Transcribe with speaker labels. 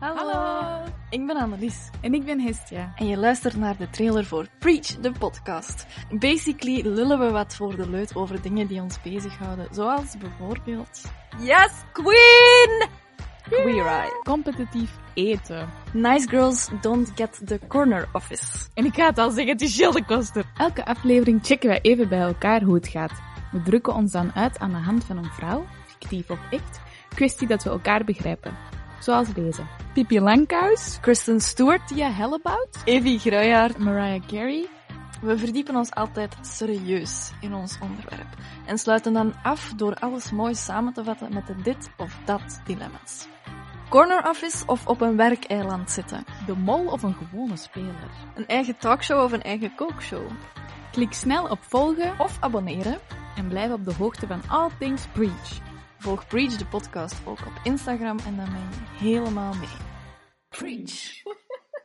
Speaker 1: Hallo. Ik ben Annelies
Speaker 2: En ik ben Hestia.
Speaker 1: en je luistert naar de trailer voor Preach, de podcast. Basically lullen we wat voor de leut over dingen die ons bezighouden, zoals bijvoorbeeld
Speaker 2: Yes, queen!
Speaker 1: queer eye.
Speaker 2: Competitief eten.
Speaker 1: Nice girls don't get the corner office.
Speaker 2: En ik ga het al zeggen, het is Gilde Koster. Elke aflevering checken wij even bij elkaar hoe het gaat. We drukken ons dan uit aan de hand van een vrouw, fictief of echt, kwestie dat we elkaar begrijpen. Zoals deze. Pippi Langkous,
Speaker 1: Kristen Stewart,
Speaker 2: Tia Hellebout,
Speaker 1: Evie Gruijaert.
Speaker 2: Mariah Carey.
Speaker 1: We verdiepen ons altijd serieus in ons onderwerp en sluiten dan af door alles mooi samen te vatten met de dit of dat dilemma's. Corner office of op een werkeiland zitten.
Speaker 2: De mol of een gewone speler.
Speaker 1: Een eigen talkshow of een eigen kookshow.
Speaker 2: Klik snel op volgen
Speaker 1: Of abonneren.
Speaker 2: en blijf op de hoogte van all things preach.
Speaker 1: Volg Preach de podcast ook op Instagram en dan ben je helemaal mee. Preach.